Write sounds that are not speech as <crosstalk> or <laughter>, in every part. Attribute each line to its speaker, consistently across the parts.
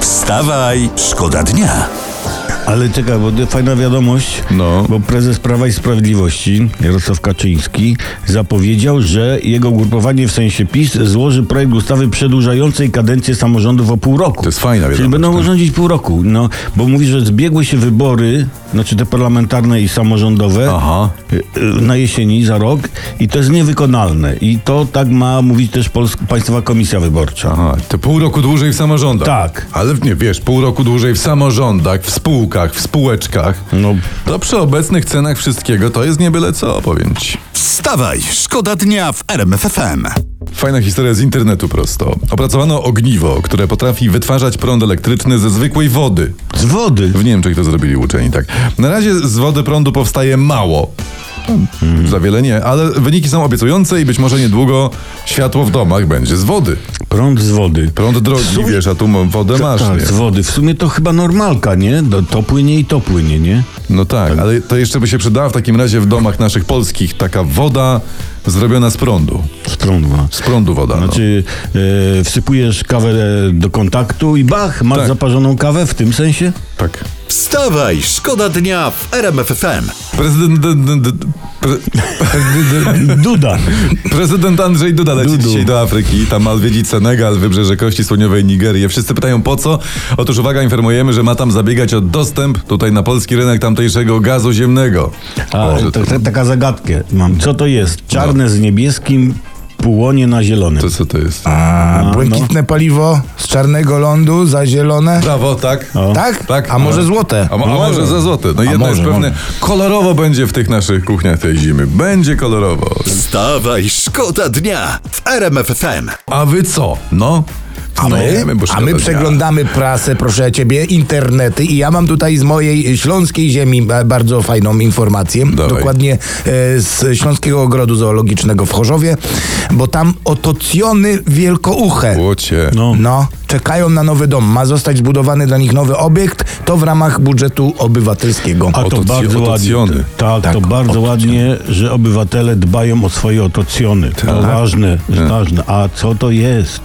Speaker 1: Wstawaj, szkoda dnia.
Speaker 2: Ale czekaj, bo to fajna wiadomość,
Speaker 3: No.
Speaker 2: bo prezes Prawa i Sprawiedliwości Jarosław Kaczyński zapowiedział, że jego ugrupowanie w sensie PiS złoży projekt ustawy przedłużającej kadencję samorządów o pół roku.
Speaker 3: To jest fajna
Speaker 2: Czyli
Speaker 3: wiadomość. tak?
Speaker 2: będą mogły rządzić pół roku, no, bo mówi, że zbiegły się wybory, znaczy te parlamentarne i samorządowe
Speaker 3: Aha.
Speaker 2: y, y, na jesieni za rok i to jest niewykonalne. I to tak ma mówić też Pols- Państwowa Komisja Wyborcza.
Speaker 3: Aha, to pół roku dłużej w samorządach.
Speaker 2: Tak.
Speaker 3: Ale nie wiesz, pół roku dłużej w samorządach, w spółkach, w spółeczkach.
Speaker 2: No.
Speaker 3: To przy obecnych cenach wszystkiego to jest nie byle co, powiem ci.
Speaker 1: Wstawaj, szkoda dnia w RMFFM.
Speaker 3: Fajna historia z internetu prosto. Opracowano ogniwo, które potrafi wytwarzać prąd elektryczny ze zwykłej wody.
Speaker 2: Z wody.
Speaker 3: W Niemczech to zrobili uczeni, tak. Na razie z wody prądu powstaje mało. Hmm, za wiele nie, ale wyniki są obiecujące i być może niedługo światło w domach będzie z wody.
Speaker 2: Prąd z wody.
Speaker 3: Prąd drogi,
Speaker 2: sumie-
Speaker 3: wiesz, a tu mo- wodę masz.
Speaker 2: tak,
Speaker 3: nie?
Speaker 2: z wody. W sumie to chyba normalka, nie? Do, to płynie i to płynie, nie?
Speaker 3: No tak, ale to jeszcze by się przydała w takim razie w domach naszych polskich taka woda zrobiona z prądu.
Speaker 2: Z prądu. no.
Speaker 3: Z prądu woda. No.
Speaker 2: Znaczy, e, wsypujesz kawę e, do kontaktu i bach, masz
Speaker 3: Tak.
Speaker 2: zaparzoną kawę w tym sensie?
Speaker 3: Tak.
Speaker 1: Wstawaj, szkoda dnia w RMFFM.
Speaker 3: Prezydent, d- d- d- pre,
Speaker 2: <laughs> Duda.
Speaker 3: prezydent Andrzej Duda leci
Speaker 2: Dudu.
Speaker 3: dzisiaj do Afryki. Tam ma odwiedzić Senegal, wybrzeże Kości Słoniowej, Nigerię. Wszyscy pytają po co? Otóż uwaga, informujemy, że ma tam zabiegać o dostęp tutaj na polski rynek tamtejszego gazu ziemnego.
Speaker 2: A,
Speaker 3: Boże,
Speaker 2: to, to, taka zagadkę mam. Co to jest? Czarne z niebieskim, płonie na zielonym.
Speaker 3: No. to co to jest?
Speaker 4: A,
Speaker 3: no.
Speaker 4: błękitne paliwo z czarnego lądu za zielone.
Speaker 3: Brawo, tak?
Speaker 4: Tak?
Speaker 3: Tak.
Speaker 4: A może złote?
Speaker 3: A, mo- a może za złote. No jedno
Speaker 4: może,
Speaker 3: jest pewne.
Speaker 4: może.
Speaker 3: Kolorowo będzie w tych naszych kuchniach tej zimy. Będzie kolorowo.
Speaker 1: Wstawaj, szkoda dnia w RMFFM.
Speaker 3: A wy co? No?
Speaker 4: A
Speaker 3: No,
Speaker 4: my,
Speaker 3: wiemy, bo
Speaker 4: a
Speaker 3: szkoda
Speaker 4: my
Speaker 3: dnia.
Speaker 4: przeglądamy prasę, proszę ciebie, internety i ja mam tutaj z mojej śląskiej ziemi ba- bardzo fajną informację.
Speaker 3: Dawaj.
Speaker 4: Dokładnie e, z Śląskiego Ogrodu Zoologicznego w Chorzowie, bo tam otocjony wielkouche.
Speaker 3: Łocie.
Speaker 2: No.
Speaker 4: No, czekają na nowy dom. Ma zostać zbudowany dla nich nowy obiekt, to w ramach budżetu obywatelskiego.
Speaker 2: A to
Speaker 3: Otoci-
Speaker 2: bardzo ładnie.
Speaker 3: otocjony.
Speaker 2: Tak, to bardzo ładnie, że obywatele dbają o swoje otocjony.
Speaker 3: Tak.
Speaker 2: To ważne, ważne. A co to jest?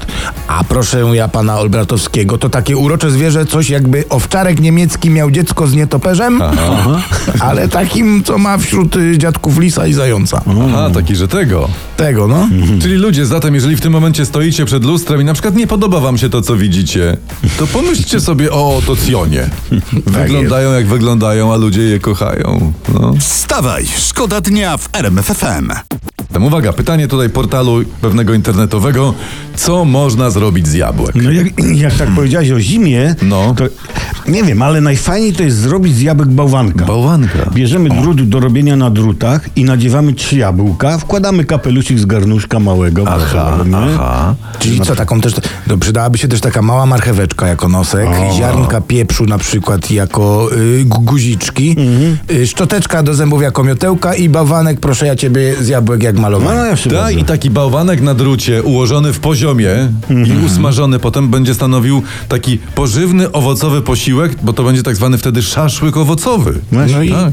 Speaker 4: A proszę ja pana Olbratowskiego, to takie urocze zwierzę, coś jakby owczarek niemiecki miał dziecko z nietoperzem, <laughs> ale takim, co ma wśród y, dziadków lisa i zająca.
Speaker 3: Aha, taki, że tego.
Speaker 4: Tego, no.
Speaker 3: Czyli ludzie, zatem jeżeli w tym momencie stoicie przed lustrem i na przykład nie podoba wam się to, co widzicie, to pomyślcie sobie o
Speaker 4: <laughs>
Speaker 3: otocjonie. Wyglądają jak wyglądają, a ludzie je kochają. No.
Speaker 1: Wstawaj, szkoda dnia w RMFFM.
Speaker 3: Tam uwaga, pytanie tutaj portalu pewnego internetowego. Co można zrobić z jabłek?
Speaker 2: No jak, <clears throat> jak tak powiedziałeś o zimie,
Speaker 3: No.
Speaker 2: to nie wiem, ale najfajniej to jest zrobić z jabłek bałwanka.
Speaker 3: Bałwanka.
Speaker 2: Bierzemy drut do robienia na drutach i nadziewamy trzy jabłka, wkładamy kapelusik z garnuszka małego. Aha, aha.
Speaker 4: Czyli co, taką też, no, przydałaby się też taka mała marcheweczka jako nosek, ziarnka pieprzu na przykład jako y, gu- guziczki,
Speaker 2: Mhm.
Speaker 4: y, szczoteczka do zębów jako miotełka i bawanek, proszę ja ciebie, z jabłek jak
Speaker 2: No,
Speaker 4: malowany.
Speaker 2: ja się
Speaker 3: Da,
Speaker 2: bardzo-
Speaker 3: i taki bałwanek na drucie ułożony w poziomie
Speaker 4: Mhm.
Speaker 3: i usmażony potem będzie stanowił taki pożywny, owocowy posiłek, bo to będzie tak zwany wtedy szaszłyk owocowy.
Speaker 4: No i
Speaker 3: Tak.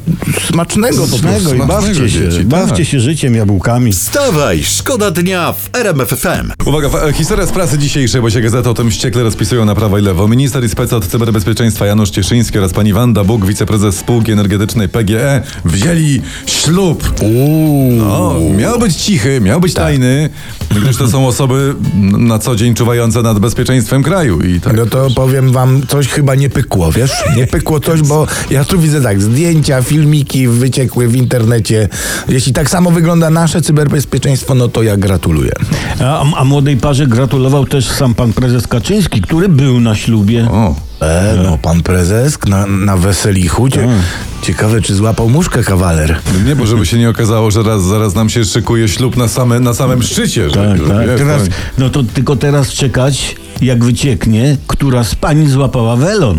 Speaker 4: smacznego
Speaker 2: Smacznego
Speaker 4: po prostu. no.
Speaker 2: i
Speaker 3: smacznego,
Speaker 2: bawcie się,
Speaker 3: dzieci,
Speaker 2: bawcie
Speaker 3: tak.
Speaker 2: się życiem, jabłkami.
Speaker 1: Wstawaj, szkoda dnia w RMFFM.
Speaker 3: Uwaga, fa- e, historia z prasy dzisiejszej, bo się gazety o tym wściekle rozpisują na prawo i lewo. Minister i spec od cyberbezpieczeństwa Janusz Cieszyński oraz pani Wanda Bóg, wiceprezes spółki energetycznej PGE, wzięli ślub. No, miał być cichy, miał
Speaker 4: Tak.
Speaker 3: być tajny, gdyż to są osoby m, na co dzień czuwające nad bezpieczeństwem kraju i tak.
Speaker 4: No to powiem wam, coś chyba nie pykło, wiesz? Nie pykło coś, bo ja tu widzę tak, zdjęcia, filmiki wyciekły w internecie. Jeśli tak samo wygląda nasze cyberbezpieczeństwo, no to ja gratuluję.
Speaker 2: A, a młodej parze gratulował też sam pan prezes Kaczyński, który był na ślubie.
Speaker 3: O.
Speaker 4: E, no pan prezesk na, na weselichu. Cie, ciekawe, czy złapał muszkę kawaler.
Speaker 3: Nie, bo żeby się nie okazało, że raz, zaraz nam się szykuje ślub na, same, na samym szczycie. Że,
Speaker 2: Tak,
Speaker 3: że,
Speaker 2: tak.
Speaker 3: wiesz,
Speaker 2: Teraz,
Speaker 3: powiem-
Speaker 2: no to tylko teraz czekać, jak wycieknie, która z pani złapała welon.